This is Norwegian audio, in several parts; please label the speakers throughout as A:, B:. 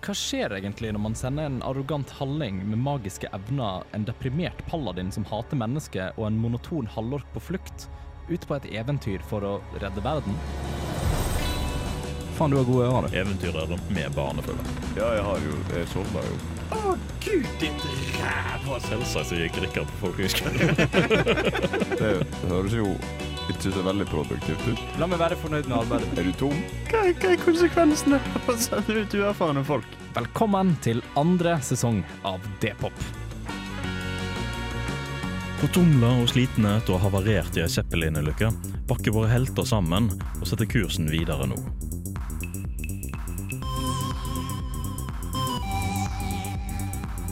A: Hva skjer egentlig når man sender en arrogant halling med magiske evner, en deprimert paladin som hater mennesker, og en monoton halvork på flukt, ut på et eventyr for å redde verden?
B: Faen, du har gode ører, du.
C: Eventyrer med barnefølge.
D: Ja, jeg har jo Jeg sovna jo.
C: Selvsagt så gikk Rikard på folkehøyskolen.
D: Det høres jo ikke så veldig produktivt ut.
B: La meg være fornøyd med arbeidet.
D: Er du tom?
E: Hva, er- hva er konsekvensene av å sende ut uerfarne folk?
A: Velkommen til andre sesong av D-pop.
C: Fortumla og slitne etter å ha havarert i ei Zeppelin-ulykke, pakker våre helter sammen og setter kursen videre nå.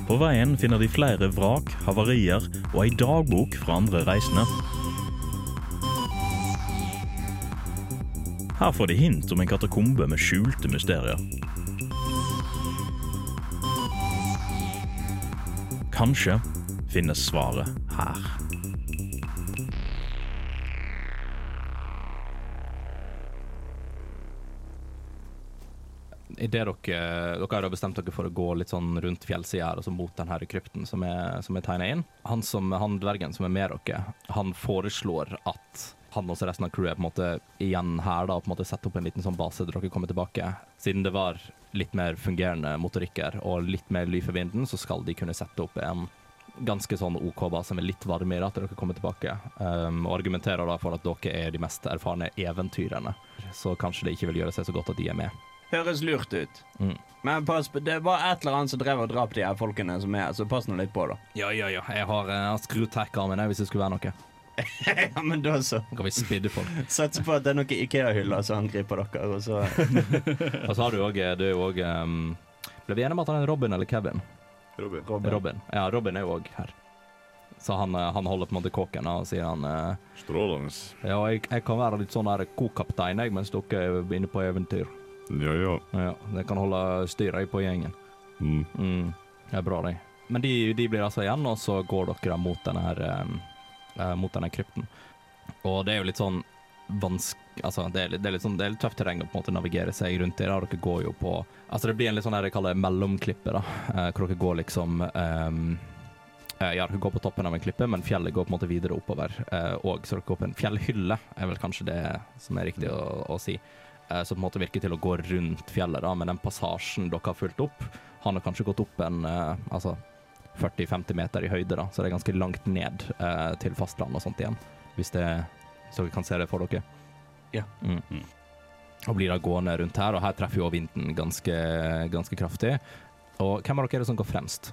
C: På veien finner de flere vrak, havarier og ei dagbok fra andre reisende. Her får de hint om en katakombe med skjulte mysterier. Kanskje finnes svaret her.
A: I det dere, dere har jo bestemt dere for å gå litt sånn rundt fjellsida her, altså mot den her krypten som er, som er tegna inn. Han, som, han dvergen som er med dere, han foreslår at han og resten av crewet på en måte igjen her da, på en måte setter opp en liten sånn base der dere kommer tilbake. Siden det var litt mer fungerende motorikker og litt mer ly for vinden, så skal de kunne sette opp en ganske sånn OK base med litt varmere til dere kommer tilbake. Um, og argumenterer da for at dere er de mest erfarne eventyrerne, så kanskje det ikke vil gjøre seg så godt at de er med.
E: Høres lurt ut.
A: Mm.
E: Men pass på, det var et eller annet som drev og drap de her folkene som er her, så pass nå litt på, da.
A: Ja, ja, ja. Jeg har, eh, jeg har skrudd tech-armen jeg, hvis det skulle være noe.
E: Ja, men da så.
A: Da kan vi spidde folk.
E: Satser på at det er noen Ikea-hyller som angriper dere, og så
A: Og så har du òg Du er jo òg um, Ble vi enige om at han er Robin eller Kevin?
D: Robin.
A: Robin. Ja, Robin er jo òg her. Så han, eh, han holder på en måte kåken og sier han eh,
D: Strålende.
A: Ja, jeg, jeg kan være litt sånn her kokaptein jeg, mens dere er inne på eventyr.
D: Ja, ja.
A: Ja, jeg kan holde styr jeg, på gjengen.
D: Mm.
A: Mm, det er bra, det. Men de, de blir altså igjen, og så går dere da mot denne, her, eh, eh, mot denne krypten. Og det er jo litt sånn vansk... Altså, det er, litt- det er litt sånn, det er litt tøft terreng å på en måte navigere seg rundt i. da. Dere går jo på Altså, det blir en litt sånn her jeg kaller det mellomklippe, da. eh, hvor dere går liksom ehm, eh, ja, dere går på toppen av en klippe, men fjellet går på en måte videre oppover. eh, og så dere går på en fjellhylle, er vel kanskje det som er riktig å, å si. Eh, som på en måte virker til å gå rundt fjellet, da, men den passasjen dere har fulgt opp, han har kanskje gått opp en eh, altså 40-50 meter i høyde, da, så det er ganske langt ned eh, til fastlandet og sånt igjen. Hvis, det, hvis dere kan se det for dere.
E: Ja.
A: Mm.
C: Mm.
A: Og blir da gående rundt her, og her treffer jo vinden ganske, ganske kraftig. Og hvem av dere er det som går fremst?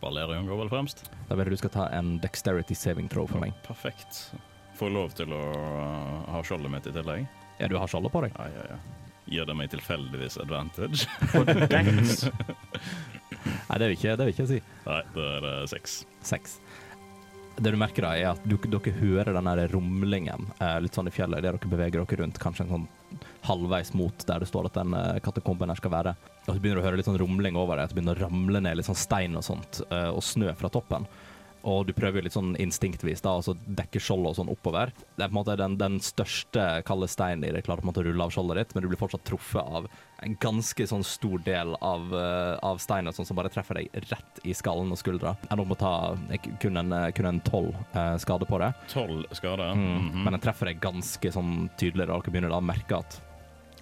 C: Valerian går vel fremst.
A: Da vil jeg du skal ta en dexterity saving throw for meg.
C: Perfekt. Får lov til å uh, ha skjoldet mitt i tillegg.
A: Ja, du har skjoldet på deg?
C: Ja, ja, ja. Gir det meg tilfeldigvis advantage?
E: på deks.
A: Nei, det vil ikke, det vil ikke jeg si.
C: Nei, da er det seks.
A: Seks. Det du merker da, er at du, dere hører den der rumlingen eh, litt sånn i fjellet der dere beveger dere rundt, kanskje en sånn halvveis mot der det står at den eh, katakomben her skal være. Og så begynner du å høre litt sånn rumling over deg, at det begynner å ramle ned litt sånn stein og sånt, eh, og snø fra toppen. Og du prøver jo litt sånn instinktvis da, altså dekke skjoldet og sånn oppover. Det er på en måte den, den største kalde steinen i det, klarer på en måte å rulle av skjoldet ditt, men du blir fortsatt truffet av en ganske sånn stor del av, eh, av steinen sånn, som bare treffer deg rett i skallen og skuldra. Jeg må ta eh, kun en, eh, kun en 12 eh, skade på det,
C: Tolv skader. Mm.
A: men den treffer deg ganske sånn tydelig, og dere begynner da å merke at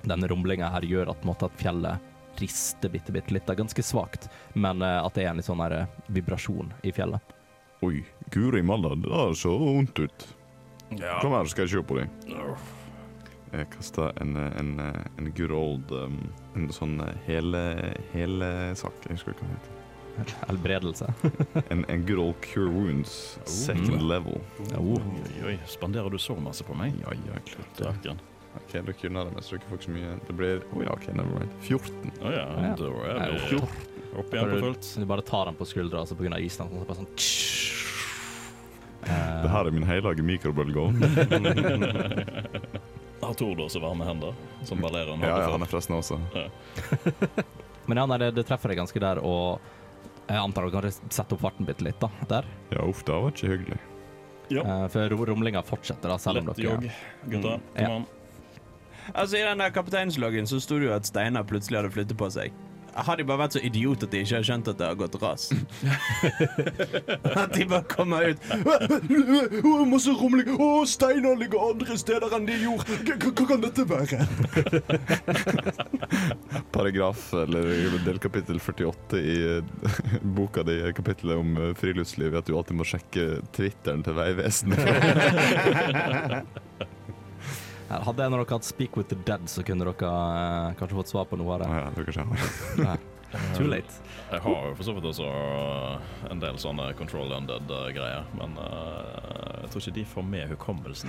A: denne rumlinga her gjør at, på en måte, at fjellet rister bitte, bitte litt. Det er ganske svakt, men eh, at det er en litt sånn her, eh, vibrasjon i fjellet.
D: Oi, guri malla, det der så vondt ut.
C: Ja.
D: Kom her, skal jeg se på deg. Jeg kasta en, en, en good old um, En sånn hele, hele sak. Jeg husker ikke hva den heter.
A: Helbredelse.
D: En, en good old cure wounds second
C: Mm.
D: level.
A: oh.
C: Oi, oi, oi. Spanderer du så masse på meg?
D: Ja, ja, klart det.
C: Draken.
D: Ok, dere unna det, men så dere får ikke så mye. Det blir Å ja, OK, never mind. 14.
C: Å ja,
A: Ja.
C: da
A: Nei,
C: er vi
A: fjor-
C: opp igjen på fullt.
A: Så du bare tar den på skuldra, og så på grunn av isen så bare sånn
D: Det her er min hellige mikrobølgeovn.
C: Har Tord også varme hender, som Valerian
D: ja,
C: hadde
D: ja, han er
C: før?
D: forresten også.
A: Men ja, nei, det, det treffer deg ganske der, og jeg antar du kan sette opp farten bitte litt, da. Der.
D: Ja, uff, det var ikke hyggelig.
C: Ja.
A: Eh, for ro- rumlinga fortsetter, da, selv om
C: Lett
A: dere Mm.
C: jogg, gutta.
A: Ja.
C: Kom an.
E: Altså, I den der kapteinsloggen så sto det jo at Steinar plutselig hadde flyttet på seg. Har de bare vært så idioter at de ikke har skjønt at det har gått ras? at de bare kommer ut «Å, Masse rumling. Å, steiner ligger andre steder enn de gjorde. Hva- Hva hva kan dette være?
D: Paragraf eller del kapittel 48 i eh, boka di, kapittelet om eh, friluftsliv, er at du alltid må sjekke Twitteren til Vegvesenet.
A: Ja, Hadde en av dere hatt Speak with the Dead, så kunne dere eh, kanskje fått svar på noe av
D: Å
A: det.
D: ja, det er kanskje han.
A: Too late.
C: Eh, Jeg har jo for så vidt også uh, en del sånne Control Undead-greier, men uh, jeg tror ikke de får med hukommelsen.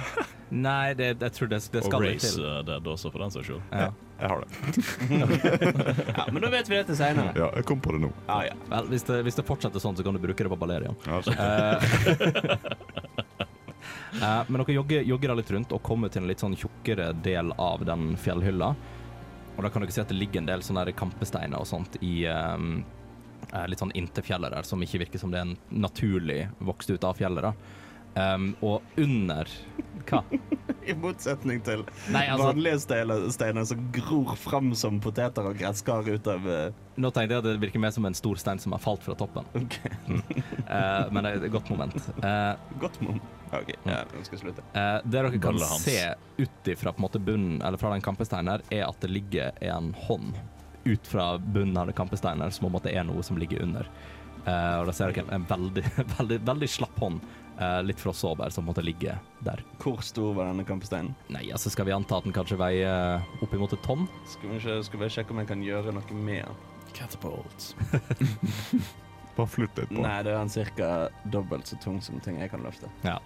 A: Nei, det, jeg tror det, det
C: Og
A: skal litt
C: Race
A: til.
C: uh, Dead også, for den saks skyld.
A: Ja.
D: Jeg har det.
E: Ja, men da vet vi dette seinere.
D: Ja, jeg kom på det nå.
E: Ja, ja.
A: Vel, hvis det, hvis det fortsetter sånn, så kan du bruke det på Balerian.
D: Ja, altså, så-
A: Eh, men dere jogger, jogger da litt rundt og kommer til en litt sånn tjukkere del av den fjellhylla. Og da kan dere se at det ligger en del sånne der kampesteiner og sånt i ehm, eh, litt sånn inntil fjellet der, som ikke virker som det er en naturlig vokst ut av fjellet. da. Ehm, og under Hva?
E: I motsetning til
A: Nei, altså,
E: vanlige steiner, steiner som gror fram som poteter og gresskar ut av eh,
A: nå tenkte jeg at det virker mer som en stor stein som har falt fra toppen.
E: Ok,
A: Eh, men det er et godt moment. Eh,
E: Godt, mom. OK, ja, nå skal jeg slutte.
A: Eh, det dere kan
C: Balle hans.
A: se ut ifra på en måte bunnen, eller fra den kampesteinen her, er at det ligger en hånd ut fra bunnen av den kampesteinen her, som om at det er noe som ligger under. Eh, og da ser dere en, en veldig, veldig, veldig slapp hånd, eh, litt frossover, som måtte ligge der.
E: Hvor stor var denne kampesteinen?
A: Nei, altså skal vi anta at den kanskje veier oppimot et tonn?
E: Skal vi, ikke, skal vi sjekke om jeg kan gjøre noe med den?
C: Catapult.
D: Bare flytt litt på.
E: Nei, det er den cirka dobbelt så tung som ting jeg kan løfte.
A: Nei,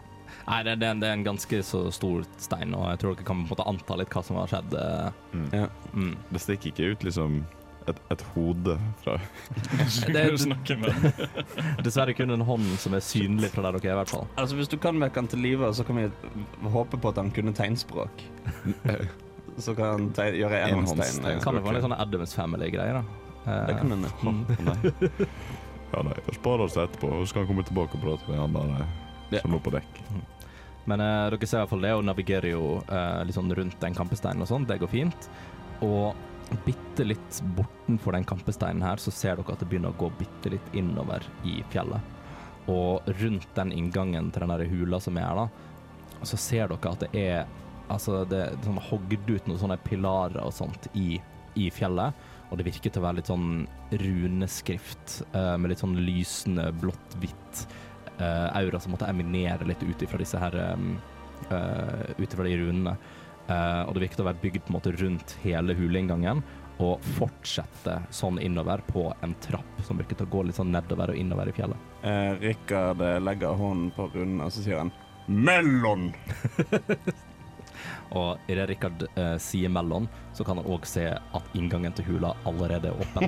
A: det, det, er en- det er en ganske så stor stein, og jeg tror dere kan på en måte anta litt hva som har skjedd. eh,
D: Mm.
E: Ja.
A: Mm.
D: Det stikker ikke ut liksom et, et hode fra
A: Det
C: Hva du
A: er
C: snakker med?
A: dessverre kun en hånd som er synlig fra der dere er, i hvert fall.
E: Altså, Hvis du kan vekke han til live, så kan vi håpe på at han kunne tegnspråk. Så kan han teg gjøre enhåndstegn.
D: Enhåndstegn.
A: Kan det være litt sånn Adams Family-greier, da? Eh,
E: Det kan hende.
D: Ja, nei, jeg sparer oss etterpå, og så skal han komme tilbake og prate med han der eh, som lå på dekk.
A: Men eh, dere ser i hvert fall det, og navigerer jo eh, litt sånn rundt den kampesteinen og sånn. Det går fint. Og bitte litt bortenfor den kampesteinen her, så ser dere at det begynner å gå bitte litt innover i fjellet. Og rundt den inngangen til den der hula som er her, da, så ser dere at det er Altså, det er sånn hogd ut noen sånne pilarer og sånt i, i fjellet. Og det virker til å være litt sånn runeskrift eh, med litt sånn lysende blått-hvitt eh, aura som måtte eminere litt ut ifra disse her um, eh, ut ifra de runene. Eh, og det virket å være bygd på en måte rundt hele huleinngangen og fortsette sånn innover på en trapp som virket å gå litt sånn nedover og innover i fjellet.
E: Eh, Rikard eh, legger hånden på runden, og så sier han Mellom!
A: Og idet Rikard eh, sier mellom, så kan han òg se at inngangen til hula allerede er åpen.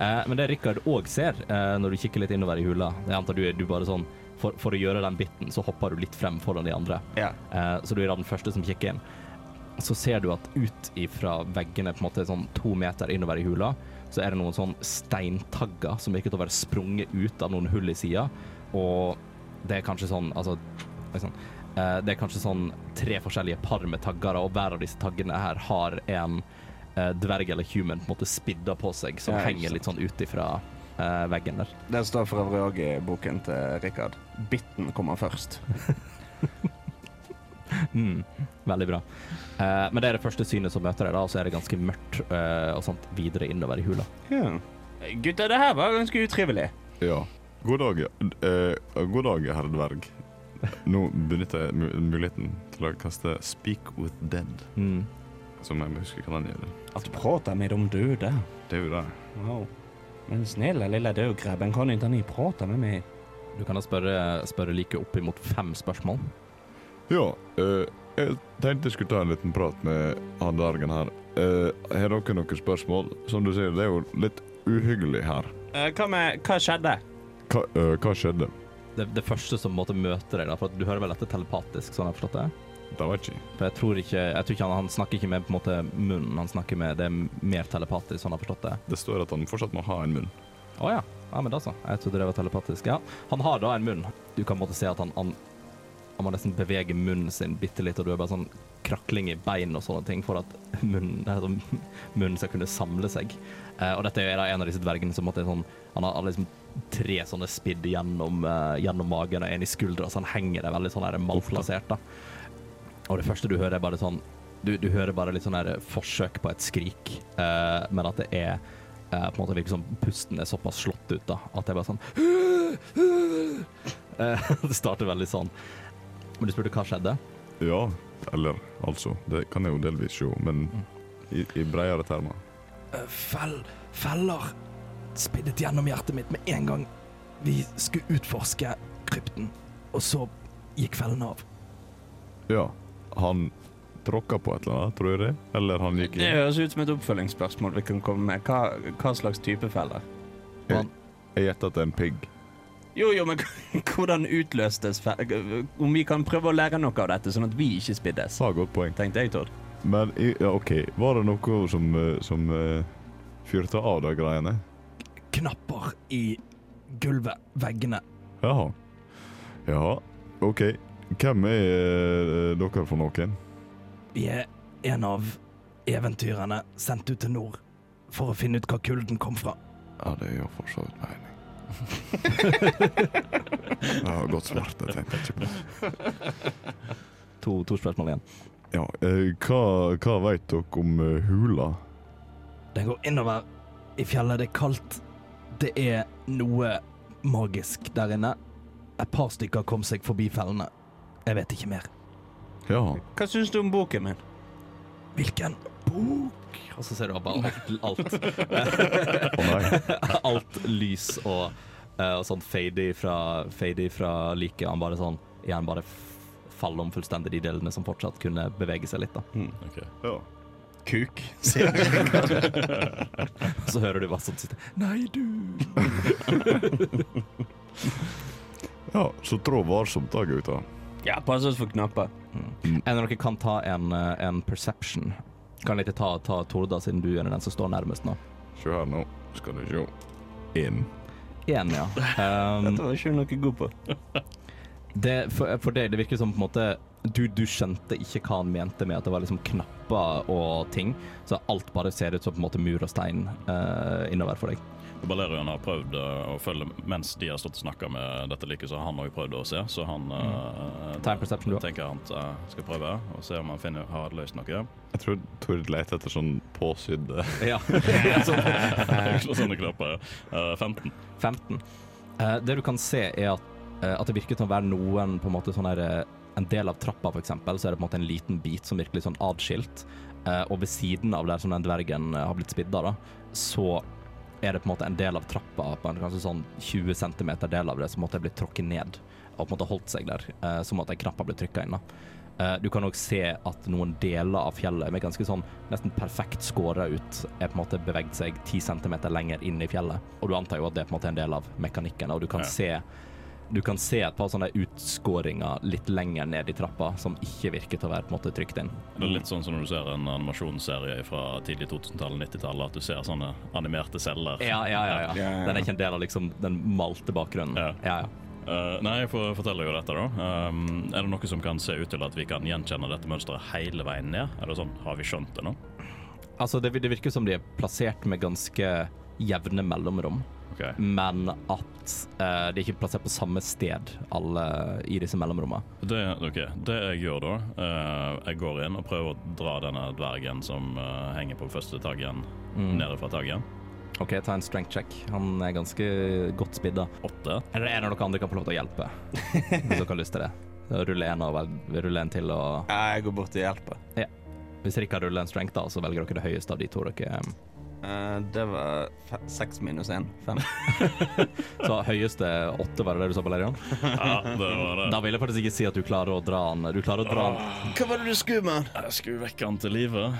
A: Eh, men det Rikard òg ser eh, når du kikker litt innover i hula, det antar du er du bare sånn for, for å gjøre den biten, så hopper du litt frem foran de andre.
E: Ja.
A: Eh, så du er da den første som kikker inn. Så ser du at ut ifra veggene, på en måte sånn to meter innover i hula, så er det noen sånn steintagger som virker til å være sprunget ut av noen hull i sida, og det er kanskje sånn Altså liksom, eh, Det er kanskje sånn tre forskjellige par med tagger, og hver av disse taggene her har en eh, dverg eller human på en måte spidda på seg, som
E: Ja, ikke
A: henger litt sånn ut ifra eh, veggen der.
E: Det står for øvrig òg i boken til Rikard. Bitten kommer først.
A: Mm, veldig bra. Eh, men det er det første synet som møter deg, da, og så er det ganske mørkt eh, og sånt videre innover i hula.
E: Ja. Gutter, det her var ganske utrivelig.
D: Ja. God dag, ja. Eh, god dag, herre dverg. Nå benytter jeg mu- muligheten til å kaste 'Speak with Dead',
A: Mm.
D: som jeg husker hva den gjør.
E: At prata med de døde.
D: Det er jo det.
E: Wow. Men snälla lilla dögrabben, kan inte ni prata med mig?
A: Du kan da spørre, spørre like oppimot fem spørsmål.
D: Ja, eh, jeg tenkte jeg skulle ta en liten prat med han dvergen her. Eh, har dere noen spørsmål? Som du sier, det er jo litt uhyggelig her.
E: Eh, hva, med, hva skjedde?
D: Hva, eh, hva skjedde?
A: Det, det første som måtte møte deg, da, for at du hører vel dette telepatisk, sånn jeg har forstått det?
D: Det vet jeg ikke.
A: For jeg tror ikke, jeg tror ikke han, han snakker ikke med på en måte munnen, han snakker med det er mer telepatisk, sånn jeg har forstått det.
D: Det står at han fortsatt må ha en munn.
A: Å ja. ja. Men da så. Jeg trodde det var telepatisk. Ja, han har da en munn. Du kan måtte se at han, han, han må nesten bevege munnen sin bitte litt, og du er bare sånn krakling i bein og sånne ting for at munnen, altså, munnen skal kunne samle seg. Eh, og dette er da en av disse dvergene som måtte sånn, han har liksom tre sånne spidd gjennom, eh, gjennom magen og en i skuldra, så han henger der veldig sånn her malplassert. da. Og det første du hører, er bare sånn Du, du hører bare litt sånn her forsøk på et skrik, eh, men at det er eh, på en måte virker som pusten er såpass slått ut, da. At det er bare sånn Eh, Det starter veldig sånn. Men du spurte hva skjedde?
D: Ja, eller altså. Det kan jeg jo delvis se, men i, i bredere termer.
A: Eh, Fell, feller spiddet gjennom hjertet mitt med en gang vi skulle utforske krypten. Og så gikk fellen av.
D: Ja, han tråkka på et eller annet, tror jeg det? Eller han gikk
E: Det
D: inn?
E: høres ut som et oppfølgingsspørsmål vi kan komme med. Hva, hva slags type feller?
D: Jeg gjetter at det er en pigg.
E: Jo, jo, men hvordan utløstes feller? Om vi kan prøve å lære noe av dette, sånn at vi ikke spiddes,
D: Sa godt poeng.
E: tenkte jeg, Tord.
D: Men i- ja, OK, var det noe som, eh, som eh, fyrte av de greiene?
A: Knapper i gulvet, veggene.
D: Jaha. Ja, OK. Hvem er eh, dere for noen?
A: Vi er en av eventyrerne sendt ut til nord for å finne ut hva kulden kom fra.
D: Ja, det gjør for så vidt mening. ja, godt svart. Jeg tenkte ikke på det.
A: To, to spørsmål igjen.
D: Ja, eh, hva, hva veit dere om eh, hula?
A: Den går innover i fjellet. Det er kaldt. Det er noe magisk der inne. Et par stykker kom seg forbi fellene. Jeg vet ikke mer.
D: Ja.
E: Hva syns du om boken min?
A: Hvilken bok? Og så ser du bare alt. Eh,
D: Å nei.
A: alt lys og, eh, og sånn fady fra, fady fra liket. Han bare sånn Igjen bare f- faller om fullstendig de delene som fortsatt kunne bevege seg litt. da.
E: Hmm.
C: Ok.
D: Ja.
E: Kuk.
A: Så hører du hva som sitter Nei, du!
D: ja, så trå varsomt da, gutta.
E: Ja, pass oss for knapper.
A: Mm.
D: Mm.
A: En av dere kan ta en, eh, en perception. Kan jeg ikke ta, ta Torda, siden du er den som står nærmest nå?
D: Se her nå, skal du sjå. Inn.
A: Én, ja. Um,
E: Dette var ikke noe god på.
A: det, for, for deg, det virker som på en måte du, du skjønte ikke hva han mente med at det var liksom knapper og ting. Så alt bare ser ut som på en måte mur og stein eh, innover for deg.
C: Balerion har prøvd eh, å følge mens de har stått og snakka med dette liket, så har han òg prøvd å se, så han eh,
A: Ta en Mm. perception, du også.
C: tenker han eh, skal prøve og se om han finner, har løst noe.
D: Jeg tror Tord leter etter sånn påsydd
A: Ja.
C: Sånne knapper. Eh, 15.
A: 15. Eh, det du kan se, er at, eh, at det virker som å være noen på en måte sånn her eh, En del av trappa, for eksempel, så er det på en måte en liten bit som virkelig sånn adskilt. Eh, og ved siden av der som den dvergen eh, har blitt spidda, da, så er det på en måte en del av trappa, på en kanskje sånn 20 cm del av det, som måtte blitt tråkket ned og på en måte holdt seg der, eh, som at en knapp har blitt trykka inn. da. Eh, Du kan òg se at noen deler av fjellet med ganske sånn nesten perfekt skåra ut, er på en måte beveget seg 10 cm lenger inn i fjellet. Og du antar jo at det er på en måte en del av mekanikken, og du kan
C: Ja.
A: se du kan se et par sånne utskåringer litt lenger ned i trappa som ikke virker til å være på en måte trykt inn.
C: Det er litt sånn som når du ser en animasjonsserie fra tidlig 2000-tallet, 90-tallet, at du ser sånne animerte celler.
A: Ja, ja, ja. ja.
E: Ja, ja, ja.
A: Den er ikke en del av liksom den malte bakgrunnen.
C: Ja.
A: Ja, ja.
C: Eh, nei, jeg får fortelle jo dette, da. Um, er det noe som kan se ut til at vi kan gjenkjenne dette mønsteret hele veien ned? Er det sånn, Har vi skjønt det nå?
A: Altså, det, det virker som de er plassert med ganske jevne mellomrom.
C: Ok.
A: men at eh, de er ikke plassert på samme sted alle i disse mellomrommene.
C: Det, ok, det jeg gjør da, eh, jeg går inn og prøver å dra denne dvergen som eh, henger på første taggen, nede fra taggen.
A: Mm. OK, ta en strength check. Han er ganske godt spidda.
C: Åtte.
A: Eller en av dere andre kan få lov til å hjelpe, hvis dere har lyst til det. Så Rulle en, og vel- rulle en til, og
E: Ja, jeg går bort og hjelper.
A: hvis Rikard ruller en strength, da, så velger dere det høyeste av de to dere
E: Eh, det var fe- seks minus én. Fem.
A: Så høyeste åtte, var det det du sa, Balerion?
C: Ja, Ah. det var det.
A: Da vil jeg faktisk ikke si at du klarer å dra han. Du klarer å dra han.
E: Ah, Hva var det du skulle med?
C: Jeg skulle vekke han til live,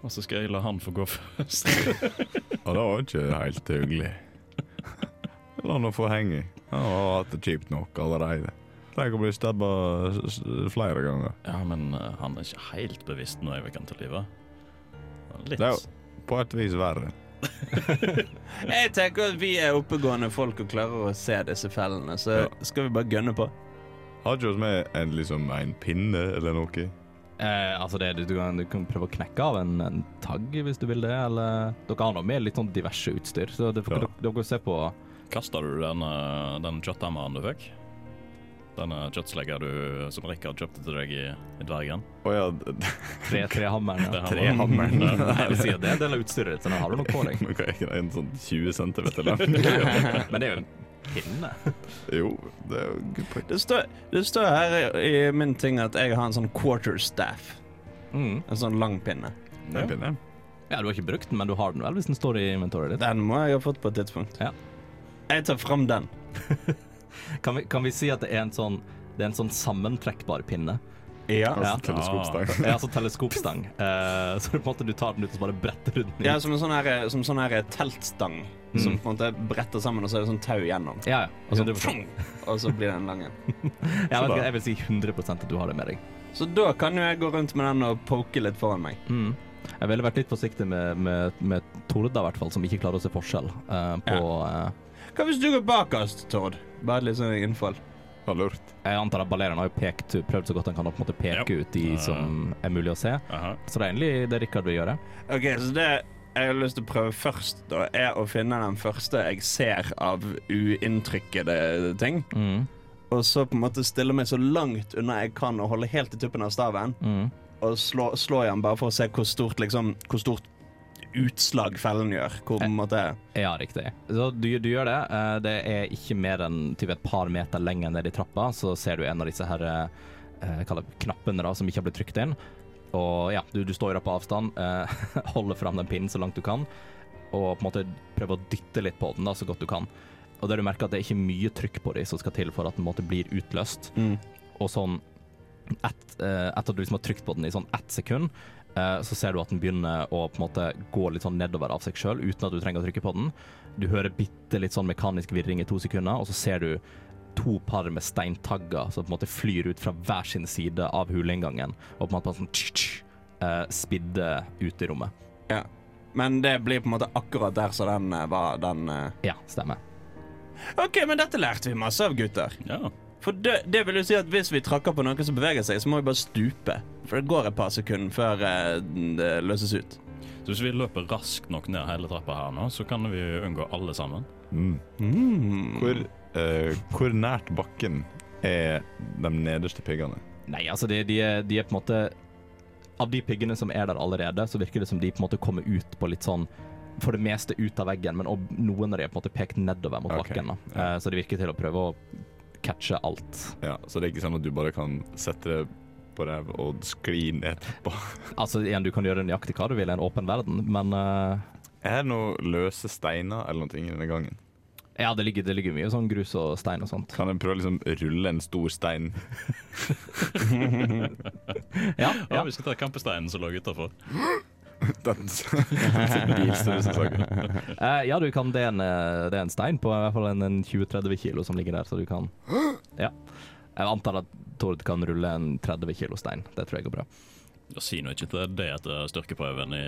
C: og så skal jeg la han få gå først.
D: Ja, det var ikke helt hyggelig. La nå få henge. Han har hatt det kjipt nok allerede. Tenk å bli stabba s- s- flere ganger.
C: Ja, men eh, han er ikke helt bevisst når jeg vekker han til live. Litt.
D: Det er jo på et vis verre.
E: Jeg tenker at vi er oppegående folk og klarer å se disse fellene, så skal vi bare gønne på.
D: Har ikke vi en, liksom, en pinne eller noe?
A: Eh, altså det, du, kan, du kan prøve å knekke av en, en tagg hvis du vil det, eller Dere har nå med litt sånn diverse utstyr, så det,
D: Ja.
A: dere, dere kan se på
C: Kasta du den, eh, den kjøtthammeren du fikk? Denne kjøttslegga du, som Rikard kjøpte til deg i, i Dvergen?
D: Å ja,
A: tre, trehammeren. Ja.
D: trehammeren.
A: Jeg vil si at det er en del av utstyret ditt, så den har du nok på deg.
D: Nå kan jeg ikke en sånn 20 centimeter lang.
A: Men det er jo en pinne.
D: Jo, det er jo good point.
E: Det står, det står her i i min ting at jeg har en sånn quarter staff.
A: Mm.
E: En sånn lang pinne.
D: Det er pinne.
A: Ja, du har ikke brukt den, men du har den vel hvis den står i inventoret ditt.
E: Den må jeg ha fått på et tidspunkt.
A: Ja.
E: Jeg tar fram den.
A: Kan vi, kan vi si at det er en sånn det er en sånn sammentrekkbar pinne?
E: Ja.
D: Altså
A: Ja.
D: teleskopstang.
A: Ja, altså teleskopstang. Eh, så på en måte du tar den ut og så bare bretter du den inn.
E: Ja, som en sånn her, som sånn her teltstang som på en måte bretter sammen, og så er det sånn tau gjennom.
A: Ja,
E: Mm. Og så,
A: 100%.
E: og så blir det en lang en.
A: Ja, jeg, vil, jeg vil si 100 at du har det med deg.
E: Så da kan jo jeg gå rundt med den og poke litt foran meg.
A: Mm. Jeg ville vært litt forsiktig med, med, med Torda, i hvert fall, som ikke klarer å se forskjell eh, på eh,
E: Hva hvis du går bakerst, Tord? Bare litt sånn innfall.
D: Ja, lurt.
A: Jeg antar at Balerian har jo pekt, prøvd så godt han kan å på en måte peke ut de
C: Ja.
A: som er mulig å se.
C: Aha.
A: Så det er egentlig det Rikard vil gjøre.
E: OK, så det jeg har lyst til å prøve først, da, er å finne den første jeg ser av uinntrykkede ting.
A: Mm.
E: Og så på en måte stille meg så langt unna jeg kan og holde helt i tuppen av staven.
A: Mm.
E: Og slå, slå i den bare for å se hvor stort, liksom, hvor stort utslag fellen gjør. Hvor på en måte
A: Ja, riktig. Så du, du gjør det. Eh, Det er ikke mer enn typ et par meter lenger ned i trappa, så ser du en av disse her eh, jeg kaller det knappene da, som ikke har blitt trykt inn. Og ja, du, du står jo da på avstand, eh, holder fram den pinnen så langt du kan, og på en måte prøver å dytte litt på den da, så godt du kan. Og der du merker at det er ikke mye trykk på dem som skal til for at den på en måte blir utløst.
E: Mm.
A: Og sånn ett, eh, etter at du liksom har trykt på den i sånn ett sekund, eh, så ser du at den begynner å på en måte gå litt sånn nedover av seg sjøl, uten at du trenger å trykke på den. Du hører bitte litt sånn mekanisk virring i to sekunder, og så ser du to par med steintagger som på en måte flyr ut fra hver sin side av huleinngangen, og på en måte bare sånn tsk, tsk, eh, spidder ut i rommet.
E: Ja. Men det blir på en måte akkurat der som den eh, var, den eh.
A: Ja, stemmer.
E: OK, men dette lærte vi masse av, gutter.
C: Ja.
E: For det, det vil jo si at hvis vi trakker på noe som beveger seg, så må vi bare stupe. For det går et par sekunder før eh, det løses ut.
C: Så hvis vi løper raskt nok ned hele trappa her nå, så kan vi unngå alle sammen.
D: Mm.
E: Mm.
D: Hvor, eh, hvor nært bakken er de nederste piggene?
A: Nei, altså de, de, er, de er på en måte Av de piggene som er der allerede, så virker det som de på en måte kommer ut på litt sånn For det meste ut av veggen, men og noen av de er på en måte pekt nedover mot
D: Ok,
A: bakken. da. Eh, Så det virker til å prøve å catche alt.
D: Ja, så det er ikke sånn at du bare kan sette det på ræv og skli ned etterpå.
A: Altså igjen, du kan gjøre nøyaktig hva du vil i en åpen verden, men eh,
D: Er det noen løse steiner eller noe i denne gangen?
A: ja, det ligger, det ligger mye sånn grus og stein og sånt.
D: Kan en prøve å liksom rulle en stor stein?
A: Ja,
C: Ja,
A: ja.
C: Vi skal ta kampesteinen som lå utafor.
D: Den bilstørrelse saken.
A: Eh, ja du kan, det er en, eh, det er en stein på i hvert fall en, en 20-30 kilo som ligger der, så du kan Ja. Jeg antar at Tord kan rulle en 30 kilo stein. Det tror jeg går bra.
C: Ja, Si nå ikke til det etter styrkeprøven i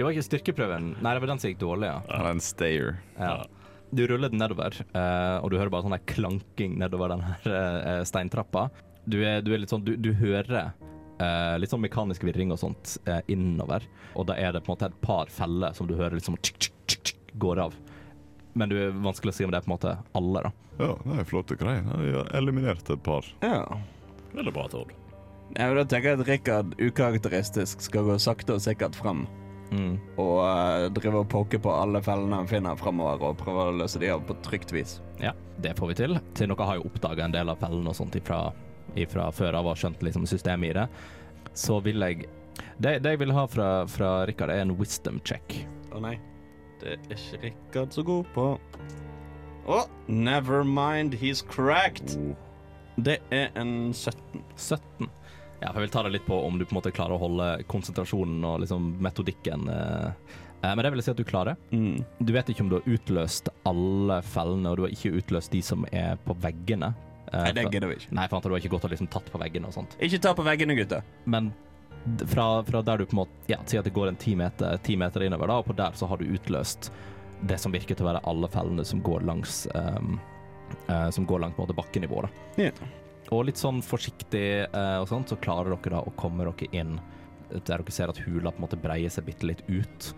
A: Jo, ikke styrkeprøven. Nei, det var den som gikk dårlig, ja.
D: Han er en stayer.
A: ja. Du ruller den nedover, eh, og du hører bare sånn her klanking nedover den her eh, steintrappa. Du er, du er litt sånn Du, du hører eh, litt sånn mekanisk virring og sånt eh, innover, og da er det på en måte et par feller som du hører liksom tsk, tsk, tsk, tsk, går av. Men du er vanskelig å si om det er på en måte alle, da.
D: Ja, det er flotte greier. Jeg har eliminert et par.
E: Ja.
C: Veldig bra, Tord.
E: ja, men da tenker jeg at Rikard ukarakteristisk skal gå sakte og sikkert frem.
A: Mm.
E: Og eh, drive og poke på alle fellene han finner fremover, og prøve å løse de av på trygt vis.
A: Ja, det får vi til. Til dere har jo oppdaga en del av fellene og sånt ifra, ifra før av og skjønt liksom systemet i det. Så vil jeg Det, det jeg vil ha fra, fra Rikard, er en wisdom check.
E: Å nei. Det er ikke Rikard så god på. Å, never mind, he's cracked. Det er en 17.
A: 17. Ja, for jeg vil ta det litt på om du på en måte klarer å holde konsentrasjonen og liksom metodikken eh. Eh, Men det vil jeg si at du klarer.
E: Mm.
A: Du vet ikke om du har utløst alle fellene, og du har ikke utløst de som er på veggene. Eh,
E: Nei, det
A: for-
E: gidder vi ikke.
A: Nei, for du har ikke gått og liksom tatt på veggene og sånt.
E: Ikke ta på veggene, gutter.
A: Men d- fra, fra der du på en måte Ja, si at det går en ti meter, ti meter innover, da, og på der så har du utløst det som virker til å være alle fellene som går langs ehm, eh, Som går langt på en måte bakkenivå, da.
E: Ja.
A: Og litt sånn forsiktig eh, og sånt, så klarer dere da å komme dere inn der dere ser at hula på en måte breier seg bitte litt ut.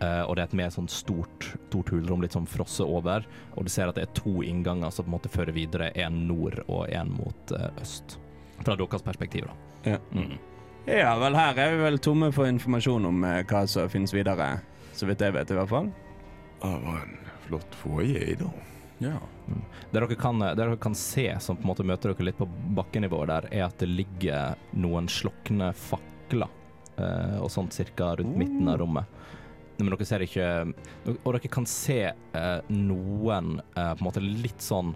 A: Eh, og det er et mer sånn stort, stort hulrom, litt sånn frosset over. Og du ser at det er to innganger som på en måte fører videre, en nord og en mot eh, øst. Fra deres perspektiv, da.
C: Mm.
E: Ja, vel, her er vi vel tomme for informasjon om eh, hva som finnes videre. Så vidt jeg vet, i hvert fall.
D: Det var en flott foyer, da.
C: Ja.
A: Det dere, kan, det dere kan se, som på en måte møter dere litt på bakkenivået der, er at det ligger noen slukne fakler eh, og sånt cirka rundt midten av rommet. Men dere ser ikke Og dere kan se eh, noen eh, på en måte litt sånn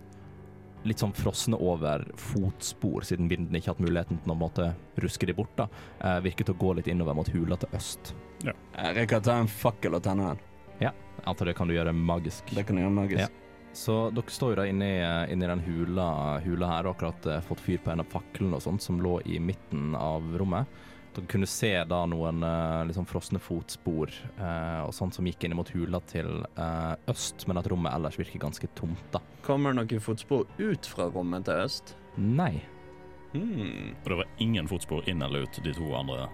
A: Litt sånn frosne over fotspor, siden vinden ikke har hatt muligheten til å på en måte ruske de bort. da, eh, Virker til å gå litt innover mot hula til øst.
E: Eh, Rikard, ta en fakkel og tenne den.
A: Jeg Antar det kan du gjøre magisk.
E: Det kan gjøre magisk.
A: Ja. Så dere står jo da inne i, eh, inne i den hula, hula her og akkurat eh, fått fyr på en av faklene og sånt som lå i midten av rommet. Dere kunne se da noen eh, liksom frosne fotspor eh, og sånt som gikk inn mot hula til eh, øst, men at rommet ellers virker ganske tomt, da.
E: Kommer det noen fotspor ut fra rommet til øst?
A: Nei.
E: Hmm.
C: Og det var ingen fotspor inn eller ut de to andre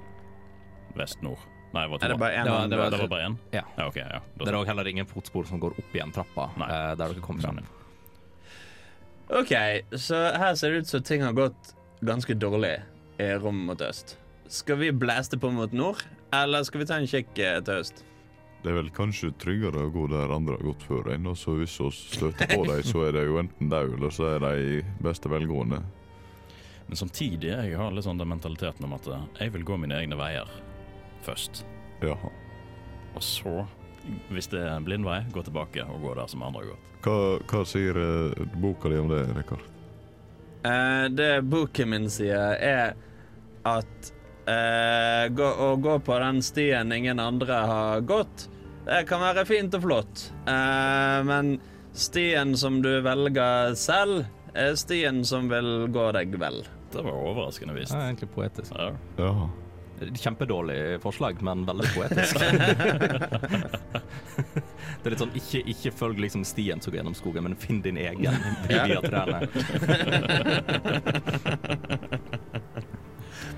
C: vest-nord. Nei, det var to.
E: Er det bare en
A: Det var-
E: annen
A: det var-
C: det var bare én?
A: Ja.
C: ja. OK. ja. Da-
A: Det er òg heller ingen fotspor som går opp igjen trappa
C: Nei.
A: eh, der dere kom fra.
C: Skjønner.
E: OK, så her ser det ut som ting har gått ganske dårlig i rommet mot øst. Skal vi blæste på mot nord, eller skal vi ta en kikk eh, til øst?
D: Det er vel kanskje tryggere å gå der andre har gått før en, og så hvis vi støter på dem, så er de jo enten døde, eller så er de i beste velgående.
C: Men samtidig jeg har litt sånn den mentaliteten om at eh, jeg vil gå mine egne veier først.
D: Ja.
C: Og så, hvis det er en blind vei, gå tilbake og gå der som andre har gått.
D: Hva, hva sier eh, boka di om det, Rikard?
E: Eh, det boken min sier, er at eh, gå, å gå på den stien ingen andre har gått, det kan være fint og flott. Eh, men stien som du velger selv, er stien som vil gå deg vel.
C: Det var overraskende vist.
A: Det er egentlig poetisk.
C: Ja.
D: Ja.
A: Kjempedårlig forslag, men veldig poetisk. det er litt sånn ikke, ikke følg liksom stien som går gjennom skogen, men finn din egen via trærne.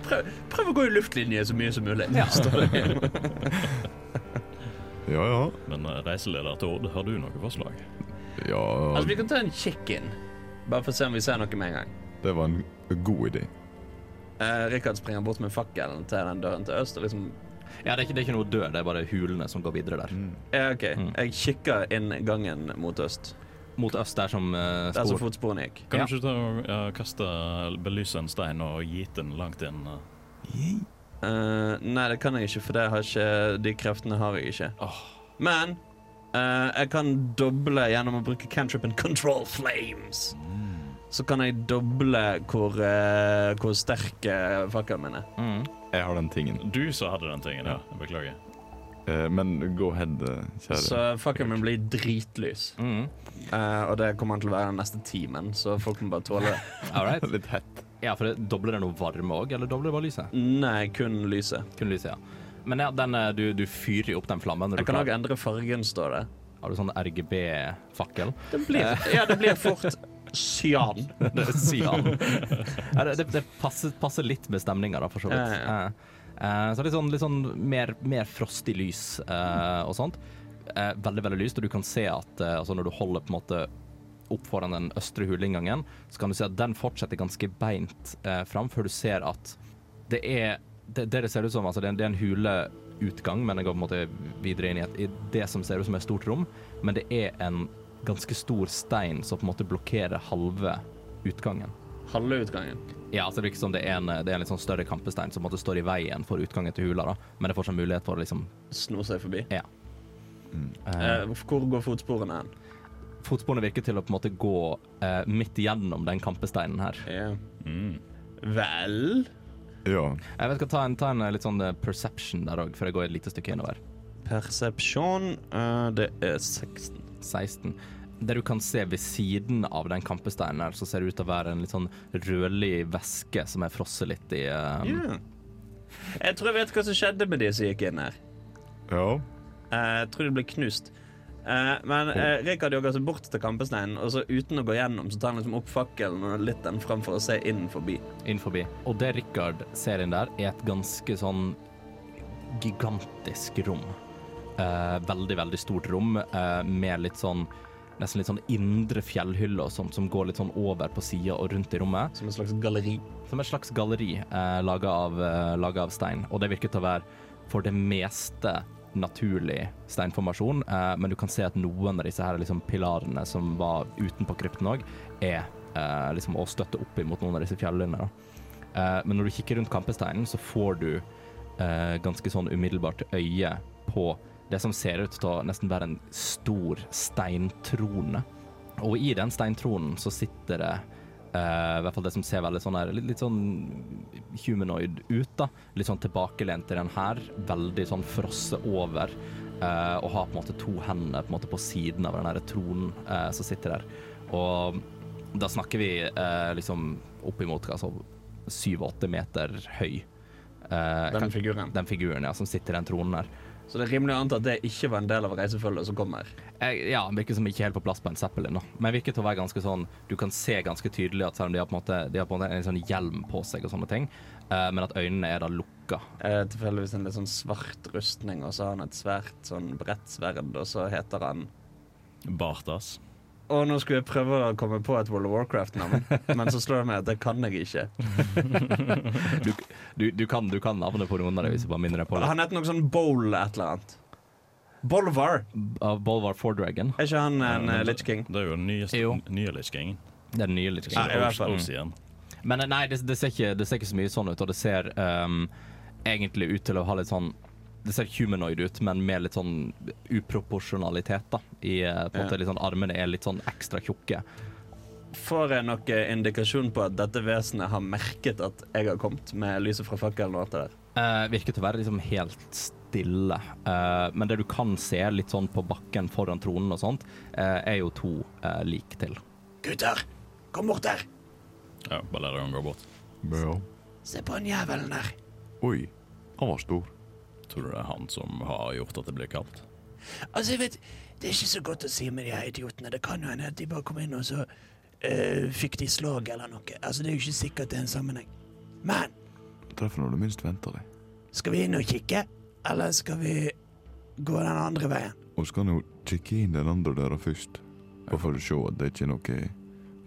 E: Prøv, prøv å gå i luftlinje så mye som mulig.
D: Ja, ja.
C: Men eh, reiseleder Tord, har du noe forslag?
E: Altså, vi
D: Ja,
E: kan ta en kikk-in, bare for å se om vi ser noe med en gang.
D: det var en god idé.
E: Eh, Rikard springer bort med fakkelen til den døren til øst og liksom
A: Ja, det er, ikke, det er ikke noe dør, det er bare hulene som går videre der.
E: Ja, OK.
A: Mm.
E: Jeg kikker inn gangen mot øst.
A: Mot øst der som eh,
E: Der som
A: spor.
E: fotsporene gikk.
C: Kan
A: Ja.
C: du ikke ta og eh, kaste, belyse en stein og gite den langt inn? eh?
E: Eh, nei, det kan jeg ikke, for det har ikke, de kreftene har jeg ikke. Men eh, jeg kan doble gjennom å bruke cantripen Control Flames.
A: Mm.
E: Så kan jeg doble hvor, eh, hvor sterk eh, fakkelen min er.
A: Mm.
D: Jeg har den tingen.
C: Du som hadde den tingen, ja. Beklager.
D: Eh, men go ahead, eh,
E: Så
D: kjære.
E: fakkelen min blir dritlys.
A: Mm.
E: Eh, og det kommer han til å være den neste timen, så folk må bare tåle det.
A: All right.
D: Litt hett.
A: Ja, for det, dobler det noe varme òg, eller dobler det bare lyset?
E: Nei, kun lyset.
A: Kun lyset, ja. Men ja, den, eh, du, du fyrer jo opp den flammen. når
E: Jeg
A: Du
E: kan òg
A: klarer.
E: endre fargen, står det.
A: Har du sånn RGB-fakkel?
E: Det blir, ja, det blir fort cyan.
A: Det sier han. Ja, det det, det passer, passer litt med stemninga, da, for så vidt.
E: Ja, ja,
A: Eh, eh, så litt sånn, litt sånn mer, mer frostig lys eh, og sånt. Eh, veldig, veldig lyst, og du kan se at eh, altså når du holder på en måte opp foran den østre huleinngangen, så kan du se at den fortsetter ganske beint eh, fram, før du ser at det er det, det det ser ut som, altså det er, en- det er en huleutgang, men den går på en måte videre inn i, et, i det som ser ut som et stort rom, men det er en ganske stor stein som på en måte blokkerer halve utgangen.
E: Halve utgangen.
A: Ja, altså det virker som det er en, det er en litt sånn større kampestein som på en måte står i veien for utgangen til hula, da. men det er fortsatt mulighet for å liksom
E: Sno seg forbi.
A: Ja. Eh,
E: Eh, hvor går fotsporene hen?
A: Fotsporene virker til å på en måte gå eh, midt igjennom den kampesteinen her.
C: Mm.
E: Vel
D: Ja.
A: Jeg vet ikke, ta en, ta en eh, litt sånn eh, perception der òg, før jeg går et lite stykke innover.
E: Persepsjon eh, Det er 16.
A: 16. Det du kan se ved siden av den kampesteinen her, så ser det ut til å være en litt sånn rødlig væske som er frosset litt i eh,
E: Ja. Jeg tror jeg vet hva som skjedde med de som gikk inn her.
D: Ja.
E: Eh, jeg tror de ble knust. Eh, men eh, Rikard jogger seg bort til kampesteinen, og så uten å gå gjennom så tar han liksom opp fakkelen og litt den frem for å se inn forbi.
A: inn forbi. Og det Richard ser inn der, er et ganske sånn gigantisk rom. Eh, veldig, veldig stort rom eh, med litt sånn Nesten litt sånn indre fjellhylle og sånt, som går litt sånn over på sida og rundt i rommet.
E: Som en slags galleri.
A: Som et slags galleri eh, laga av, eh, laget av stein. Og det virker til å være for det meste naturlig steinformasjon, eh, men du kan se at noen av disse her liksom pilarene som var utenpå krypten òg, er eh, liksom å støtte opp imot noen av disse fjellene. Da. Eh, men når du kikker rundt kampesteinen, så får du eh, ganske sånn umiddelbart øye på det som ser ut til å nesten være en stor steintrone. Og i den steintronen så sitter det eh, i hvert fall det som ser veldig sånn her, litt, litt sånn humanoid ut, da. Litt sånn tilbakelent i den her. Veldig sånn frosse over. eh, og har på en måte to hender på, en måte på siden av den her tronen eh, som sitter der. Og da snakker vi eh, liksom oppimot altså, syv-åtte meter høy. Eh,
E: Den
A: kan-
E: figuren.
A: den figuren ja, som sitter i den tronen her.
E: Så det er rimelig å anta at det ikke var en del av reisefølget som kommer.
A: Eh, Ja, han virker som ikke helt på plass på en Zeppelin, da. Men virker til å være ganske sånn Du kan se ganske tydelig at selv om de har på en måte, de har på en, måte en sånn hjelm på seg og sånne ting, eh, men at øynene er da lukka.
E: Eh, tilfeldigvis en litt sånn svart rustning, og så har han et svært sånn bredt sverd, og så heter han
C: Bartas.
E: Og nå skulle jeg prøve å komme på et World of Warcraft-navn, men så slår det meg at det kan jeg ikke.
A: Du, du, kan, du kan navnet på noen av dem hvis du bare minner deg på det.
E: Han heter noe sånn Bowl et eller annet. Bolvar.
A: Av Bolvar Fordragon.
E: Er ikke han en
C: Ja,
E: uh,
C: men
E: Litch King?
C: Det er jo den nyeste,
A: Jo.
C: nye Lich King.
A: Det er den nye Lich King.
E: Ja, i hvert fall.
C: Ocean.
A: Men eh, nei, det, det, ser ikke, det ser ikke så mye sånn ut, og det ser ehm, egentlig ut til å ha litt sånn Det ser humanoid ut, men med litt sånn uproporsjonalitet, da. I, eh, på en måte, litt sånn, armene er litt sånn ekstra tjukke.
E: Får jeg noen indikasjon på at dette vesenet har merket at jeg har kommet med lyset fra fakkelen og alt det der?
A: Eh, virker til å være liksom helt stille. Eh, men det du kan se litt sånn på bakken foran tronen og sånt, eh, er jo to eh, lik til.
F: Gutter, kom bort her.
C: Ja, bare lar han gå bort.
D: Ja.
F: Se på den jævelen der.
D: Oi, han var stor.
C: Tror du det er han som har gjort at det blir kaldt?
F: Altså, jeg vet, det er ikke så godt å si med de her idiotene. Det kan jo hende at de bare kom inn og så eh, fikk de slag eller noe. Altså, det er jo ikke sikkert det er en sammenheng. Men
D: Treffer når du minst venter deg.
F: skal vi inn og kikke, eller skal vi gå den andre veien?
D: Og så kan jo kikke inn den andre der først. Bare for å se at det ikke er noen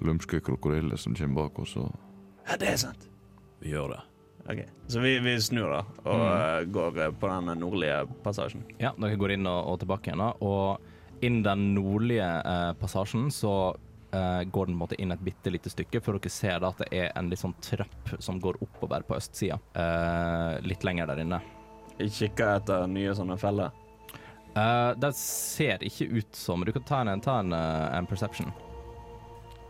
D: lumske krokodiller som kommer bak oss. Og
F: Ja, det er sant.
C: Vi gjør det.
E: Ok, Så vi, vi snur, da, og
F: Mm.
E: eh, går eh, på den nordlige passasjen.
A: Ja, dere går inn og, og tilbake igjen. da, Og inn den nordlige eh, passasjen så eh, går den på en måte inn et bitte lite stykke, for dere ser da at det er en litt sånn trapp som går oppover på østsida. eh, litt lenger der inne.
E: Jeg kikker etter nye sånne feller.
A: Eh, det ser ikke ut som Du kan ta en, ta en, eh, en perception.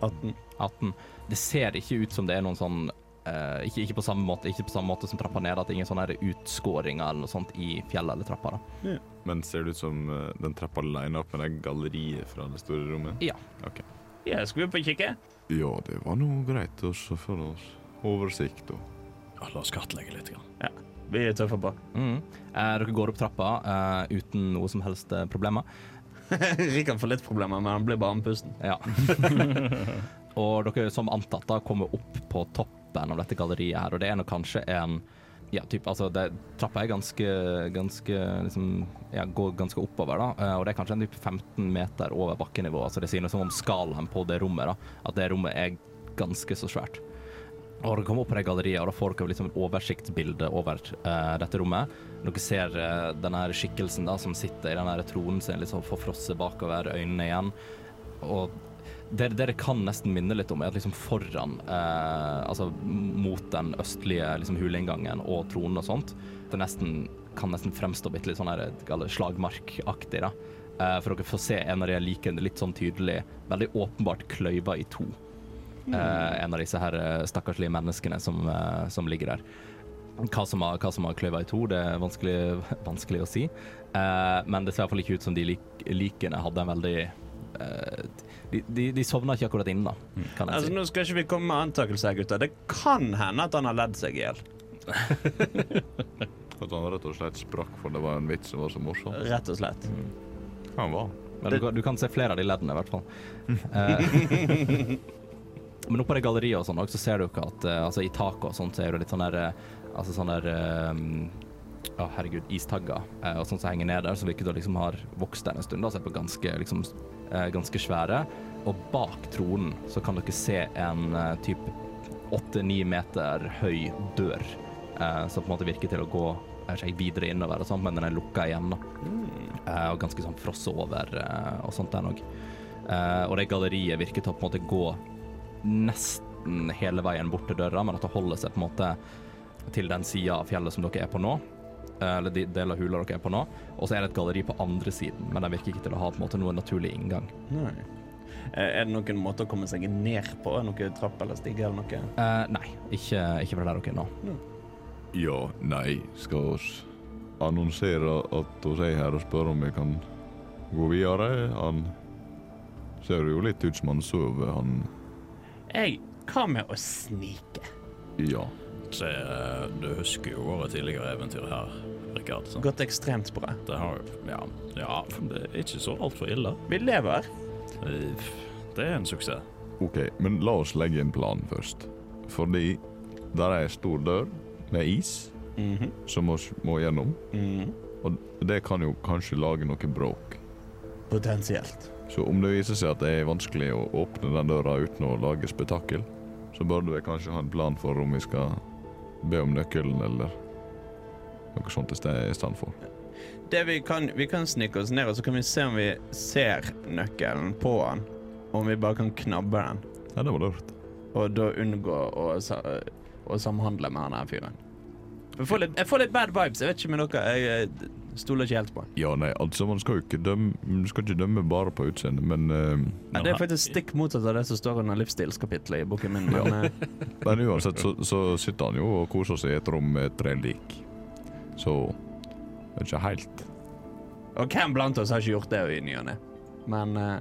E: 18.
A: 18. Det ser ikke ut som det er noen sånn eh, ikke, ikke, på samme måte, ikke på samme måte som trappa ned, at det er ingen sånne her utskåringer eller noe sånt i fjellet eller trappa. da.
G: Men ser det ut som eh, den trappa liner opp med det galleriet fra det store rommet?
A: Ja.
E: Ja, skal vi opp og kikke?
D: ja, det var nå greit også for oss. Oversikt og
C: Ja, la oss kartlegge litt. Grann.
E: Vi er tøffe på.
A: Mm. Eh, dere går opp trappa eh, uten noe som helst eh, problemer.
E: Rikard får litt problemer, men han blir bare andpusten.
A: Ja. og dere som antatt da kommer opp på toppen av dette galleriet her, og det er nok kanskje en ja, typ, altså det, Trappa er ganske, ganske liksom, ja, går ganske oppover, da. eh, Og det er kanskje en typ 15 meter over bakkenivå. Altså det sier noe som om skalaen på det rommet, da. At det rommet er ganske så svært. Og dere kommer opp på det galleriet, og da får dere liksom et oversiktsbilde over eh, dette rommet. Dere ser eh, den her skikkelsen da, som sitter i den her tronen sin, liksom forfrosset bakover øynene igjen. Og det det det kan nesten minne litt om, er at liksom foran eh, Altså mot den østlige liksom, huleinngangen og tronen og sånt, det nesten, kan nesten fremstå bitte litt sånn her eller slagmarkaktig, da. Eh, for dere får se en av de likene litt sånn tydelig, veldig åpenbart kløyva i to. Eh, en av disse her eh, stakkarslige menneskene som, eh, som ligger der. Hva som har, hva som har kløyva i to, det er vanskelig, vanskelig å si. Eh, men det ser i hvert fall ikke ut som de lik, likene hadde en veldig eh, de, de, de sovna ikke akkurat inn, da, kan jeg
E: Altså,
A: si.
E: Nå skal ikke vi komme med antakelser, gutter. Det kan hende at han har ledd seg i hjel.
D: At han rett og slett sprakk for det var en vits som var så morsom.
E: Mm. Rett og slett.
G: Han var.
A: Men du, kan- du kan se flere av de leddene, i hvert fall. Eh, men oppå det galleriet og sånn også, så ser du ikke at eh, altså, I taket og sånn så er det litt sånn der eh, Altså sånn der eh, Å, herregud, istagger eh, og sånn som henger ned der, som virker til å liksom har vokst der en stund. Da, så er det på ganske, liksom, eh, ganske svære. Og bak tronen så kan dere se en eh, typ åtte-ni meter høy dør, eh, som på en måte virker til å gå eh, seg videre innover og sånn, men den er lukka igjen. da. Eh, og ganske sånn frosset over eh, og sånt der òg. Eh, og det galleriet virker til å på en måte gå nesten hele veien bort til døra, men at det holder seg på en måte til den sida av fjellet som dere er på nå. eh, Eller de del av hula dere er på nå. Og så er det et galleri på andre siden, men det virker ikke til å ha på en måte noen naturlig inngang.
E: Nei. Eh, Er det noen måte å komme seg ned på? Noen trapp eller stige eller noe?
A: Eh, nei, ikke, ikke fra der dere er nå.
D: Ja, nei, skal oss annonsere at oss er her og spørre om vi kan gå videre? Han ser jo litt ut som han sover, han
E: Jeg Hva med å snike?
D: Ja.
C: Se, eh, du husker jo våre tidligere eventyr her, Rikard. sant?
E: Gått ekstremt bra.
C: Det har ja, ja, det er ikke så altfor ille.
E: Vi lever.
C: Eh, Det er en suksess.
D: OK, men la oss legge en plan først. Fordi der er ei stor dør med is
E: Mhm.
D: som oss må gjennom.
E: Mhm.
D: Og det kan jo kanskje lage noe bråk.
E: Potensielt.
D: Så om det viser seg at det er vanskelig å åpne den døra uten å lage spetakkel, så burde vi kanskje ha en plan for om vi skal be om nøkkelen eller noe sånt i sted- i stand for.
E: Det vi kan, vi kan snike oss ned, og så kan vi se om vi ser nøkkelen på den. Om vi bare kan knabbe den,
D: Ja, det var lurt.
E: og da unngå å, sa- å samhandle med han her fyren. Jeg får, litt, jeg får litt bad vibes. Jeg vet ikke med dere. Jeg eh, stoler ikke helt på han.
D: Ja, nei, altså man skal jo ikke dømme, man skal ikke dømme bare på utseendet, men, eh,
E: Nei, det er faktisk stikk motsatt av det som står under livsstilskapitlet i boken min. Men, eh,
D: men uansett så, så sitter han jo og koser seg i et rom med tre lik. Så det er ikke helt
E: Og hvem blant oss har ikke gjort det i ny og ne? Men eh,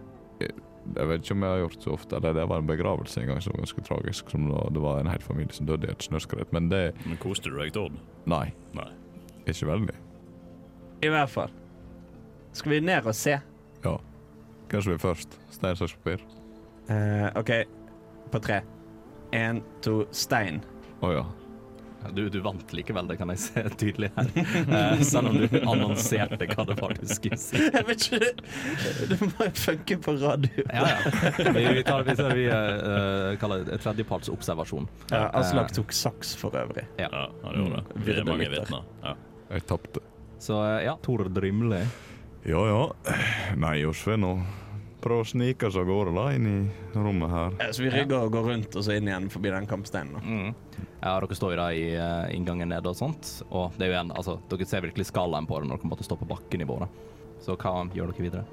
D: Jeg vet ikke om jeg har gjort så ofte. Det, det var en begravelse en gang som var ganske tragisk. Som da, det var en hel familie som døde i et snøskred. Men det
C: Men koste du deg, Tord?
D: Nei.
C: Nei.
D: Ikke veldig.
E: i hvert fall Skal vi ned og se?
D: Kanskje vi først. Stein, saks, papir.
E: Eh, OK, på tre. Én, to, stein.
D: Å ja.
A: Du, du vant likevel, det kan jeg se tydelig her. Eh, selv om du annonserte hva det var du skulle si.
E: Jeg vet ikke Det det må jo funke på radio.
A: Ja, ja. Vi, vi, tar, vi, ser- vi eh, kaller det tredjepartsobservasjon.
E: Ja, Aslak tok saks for øvrig.
C: Ja, han
E: Mm.
C: gjorde det. Vi er mange vitner. Ja.
D: Jeg tapte.
A: Så eh, ja, Tor Drimle.
D: Ja ja. Nei, oss får nå prøve å snike oss av gårde da, inn i rommet her.
E: Eh, Så vi rygger og går rundt og så inn igjen forbi den kampsteinen. da.
A: Mm. Ja, dere står jo da i eh, inngangen nede og sånt, og det er jo en, altså, dere ser virkelig skalaen på det når dere måtte stå på bakkenivå. da. Så hva gjør dere videre?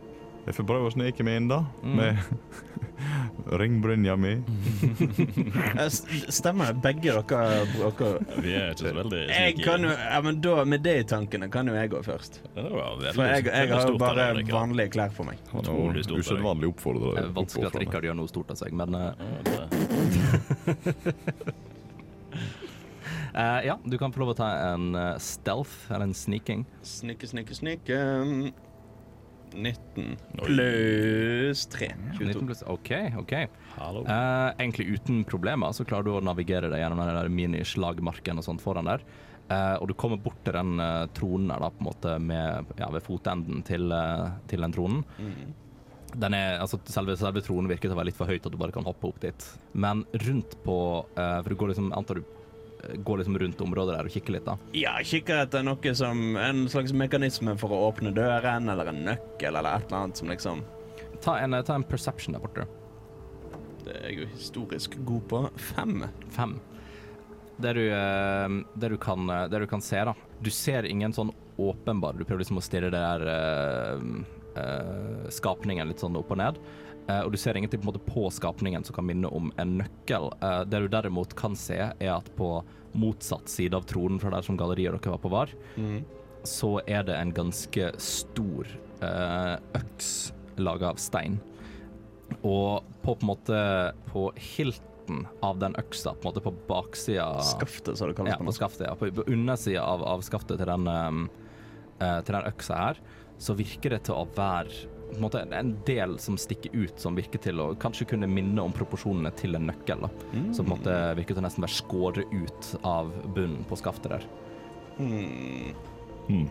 D: Jeg får prøve å snike meg inn, da.
A: Mm.
D: Med ringbrynja mi.
E: Eh, s- Stemmer det, begge dere bruker
C: Vi er ikke så veldig
E: Jeg kan jo Ja, men da, med det i tankene, kan jo jeg gå først.
C: Det var veldig,
E: For jeg, jeg
C: veldig
E: har jo
C: stort av
E: bare
C: deg, Rikard.
E: vanlige klær på meg.
D: Han er
C: Utrolig
D: jo
C: stort,
D: usedvanlig oppfordra.
A: Det er vanskelig at Rikard gjør noe stort av seg, men eh,
C: Ja, det-
A: eh, ja, du kan få lov å ta en eh, stealth, eller en sneaking.
E: Snikke, snikke, snikke. 19 pluss 3.
A: 19
E: 22.
A: pluss. OK, OK.
C: Hallo.
A: Eh, egentlig uten problemer så klarer du å navigere deg gjennom den der minislagmarken og sånt foran der. Eh, og du kommer bort til den eh, tronen der, da, på en måte med, ja, ved fotenden til, eh, til den tronen. Den er, altså, selve, selve tronen virker til å være litt for høyt, at du bare kan hoppe opp dit. Men rundt på eh, For du går liksom, antar du eh, går liksom rundt området der og kikker litt, da.
E: Ja, kikker etter noe som en slags mekanisme for å åpne døren, eller en nøkkel, eller et eller annet som liksom
A: Ta en, eh, ta en perception der borte.
E: Det er jeg jo historisk god på. Fem.
A: Fem. Det du, eh, det, du kan, det du kan se, da. Du ser ingen sånn åpenbar Du prøver liksom å stirre det der eh, eh, skapningen litt sånn opp og ned. Eh, og du ser ingenting på, en måte på skapningen som kan minne om en nøkkel. Eh, det du derimot kan se, er at på motsatt side av tronen fra der som galleriet dere var på var, så er det en ganske stor eh, øks laga av stein. Og på på en måte på hilten av den øksa, på en måte på baksida
E: Ah. Skaftet, som det kalles
A: ja,
E: på
A: på
E: norsk.
A: skaftet, ja. På, på undersida av, um, av skaftet til den, ehm, eh, til den øksa her, så virker det til å være på en måte en del som stikker ut, som virker til å kanskje kunne minne om proporsjonene til en nøkkel. da. Som på en måte
E: Mm.
A: virker til å nesten være skåret ut av bunnen på skaftet der.
E: Hmm.
D: Hmm.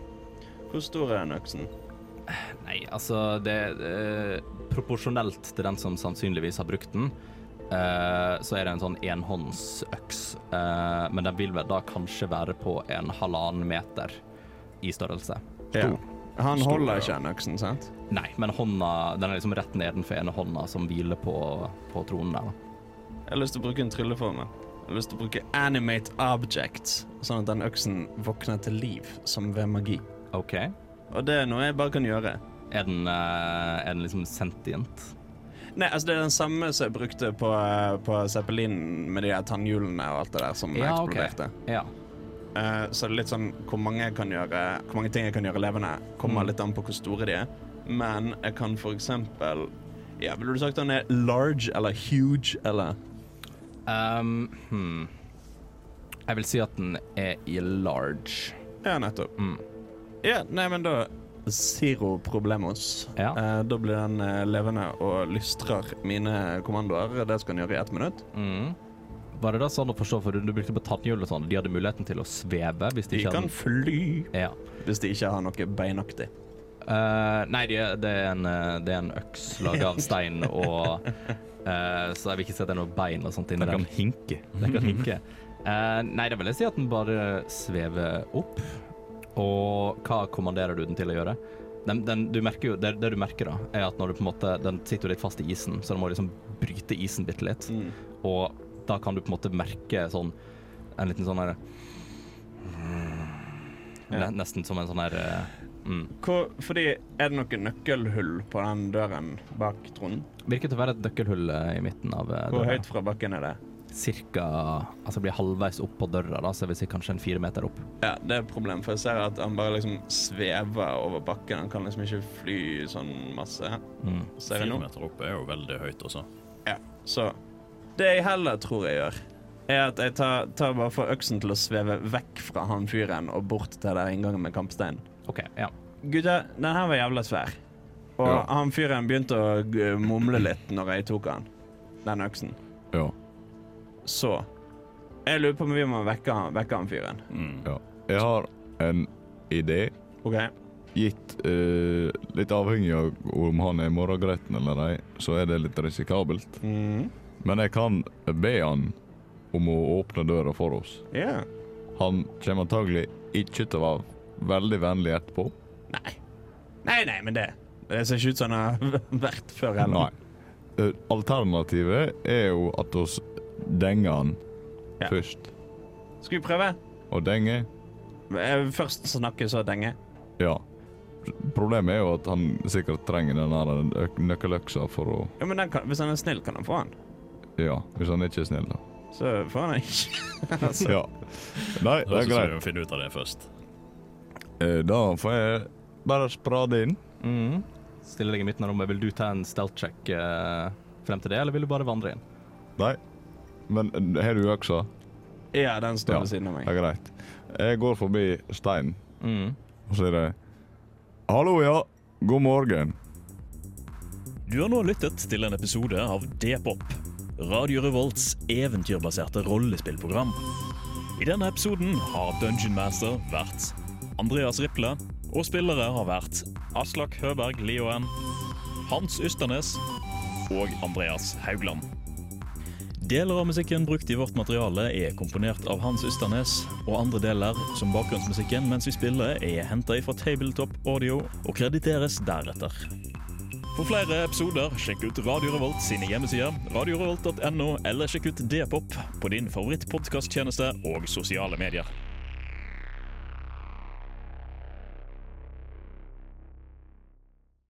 E: Hvor stor er den øksen?
A: Nei, altså det eh, Proporsjonelt til den som sannsynligvis har brukt den, eh, så er det en sånn enhåndsøks. Eh, men den vil vel da kanskje være på en halvannen meter i størrelse.
E: Ja. Han
D: Stor,
E: holder
D: ja.
E: ikke den øksen, sant?
A: Nei, men hånda Den er liksom rett nedenfor ene hånda som hviler på, på tronen der. da.
E: Jeg har lyst til å bruke en trylleformel. Jeg har lyst til å bruke animate objects, sånn at den øksen våkner til liv, som ved magi.
A: OK.
E: Og det er noe jeg bare kan gjøre.
A: Er den, eh, er den liksom sentient?
E: Nei, altså det er den samme som jeg brukte på, eh, på Zeppelinen med de der tannhjulene og alt det der som
A: Ja, ok.
E: eksploderte.
A: Ja.
E: Eh, så det er litt sånn hvor mange, jeg kan gjøre, hvor mange ting jeg kan gjøre levende,
A: Mm.
E: kommer litt an på hvor store de er. Men jeg kan for eksempel Ja, ville du sagt han er large eller huge eller
A: Ehm, hmm. Jeg vil si at den er i large.
E: Ja, nettopp.
A: Mm.
E: Ja, nei, men da Zero problemos.
A: Ja.
E: Eh, da blir den eh, levende og lystrer mine kommandoer. Det skal den gjøre i ett minutt.
A: Mm. Var det da sånn å forstå, for du brukte på tannhjul og sånn, de hadde muligheten til å sveve hvis de
E: De
A: ikke
E: kan
A: hadde...
E: fly
A: Ja.
E: hvis de ikke har noe beinaktig.
A: Eh, nei, det er, det, er en, eh, det er en øks laget av stein, og, eh, så jeg vil ikke si at det er noe bein og sånt
B: Den
A: inni der.
B: kan hinke.
A: Den kan hinke. Eh, nei, det vil jeg si at den bare svever opp, og hva kommanderer du den til å gjøre? Den, den, du merker jo, det, det du merker da, er at når du på en måte, den sitter jo litt fast i isen, så den må liksom bryte isen bitte litt. Og da kan du på en måte merke sånn En liten sånn her Ne- Nesten som en sånn her eh, mm.
E: Hvor, fordi, er det noe nøkkelhull på den døren bak tronen?
A: Virker til å være et nøkkelhull eh, i midten av eh,
E: Hvor
A: døra.
E: høyt fra bakken er det?
A: Cirka Altså blir halvveis opp på døra, da, så jeg vil si kanskje en fire meter opp.
E: Ja, det er et problem, for jeg ser at han bare liksom svever over bakken. Han kan liksom ikke fly sånn masse.
A: Mm.
E: Ser jeg
C: Fire
E: nå?
C: meter opp er jo veldig høyt også.
E: Ja. Så det jeg heller tror jeg gjør, er at jeg tar, tar bare for øksen til å sveve vekk fra han fyren og bort til der inngangen med kampsteinen.
A: OK, ja.
E: Gutter, den her var jævla svær. Og
D: Ja.
E: han fyren begynte å g- mumle litt når jeg tok han, den øksen.
D: Ja.
E: Så jeg lurer på om vi må vekke han, vekke han fyren.
C: Mm.
D: Jeg har en idé.
E: OK.
D: Gitt eh, litt avhengig av om han er morgengretten eller ei, så er det litt risikabelt.
E: Mhm.
D: Men jeg kan be han om å åpne døra for oss.
E: Ja.
D: Han kommer antagelig ikke til å være veldig vennlig etterpå.
E: Nei. Nei, nei, men det Det ser ikke ut som han har vært før
D: Nei.
E: heller.
D: Eh, Alternativet er jo at oss denger han
E: Ja.
D: først.
E: Skal vi prøve?
D: Og denge
E: Eh, Først snakke, så denge.
D: Ja. Problemet er jo at han sikkert trenger den der øk- nøkkeløksa for å
E: Ja, men den kan, Hvis han er snill, kan han få han.
D: Ja, hvis han ikke er snill, da.
E: Så får han ikke.
D: Ja. Nei, det
C: Da
D: er
C: synes jeg
D: greit.
C: vi må finne ut av det først.
D: Eh, Da får jeg bare sprade inn.
A: Mm. Stiller deg i midten av rommet. Vil du ta en stealth check eh, frem til det, eller vil du bare vandre inn?
D: Nei. Men eh, har du øksa?
E: Ja, den står
D: Ja.
E: ved siden av
D: Det
E: meg.
D: er greit. Jeg går forbi steinen,
A: Mm.
D: og så er det Hallo, ja. God morgen.
H: Du har nå lyttet til en episode av D-pop, Radio Revolts eventyrbaserte rollespillprogram. I denne episoden har Dungeon Master vært Andreas Riple, og spillere har vært Aslak Høberg Lioen, Hans Ysternes og Andreas Haugland. Deler av musikken brukt i vårt materiale er komponert av Hans Ysternes, og andre deler, som bakgrunnsmusikken mens vi spiller, er henta fra Tabletop Audio og krediteres deretter. For flere episoder, sjekk ut Radio Revolt sine hjemmesider, radiorevolt.no, eller sjekk ut D-pop på din favorittpodkasttjeneste og sosiale medier.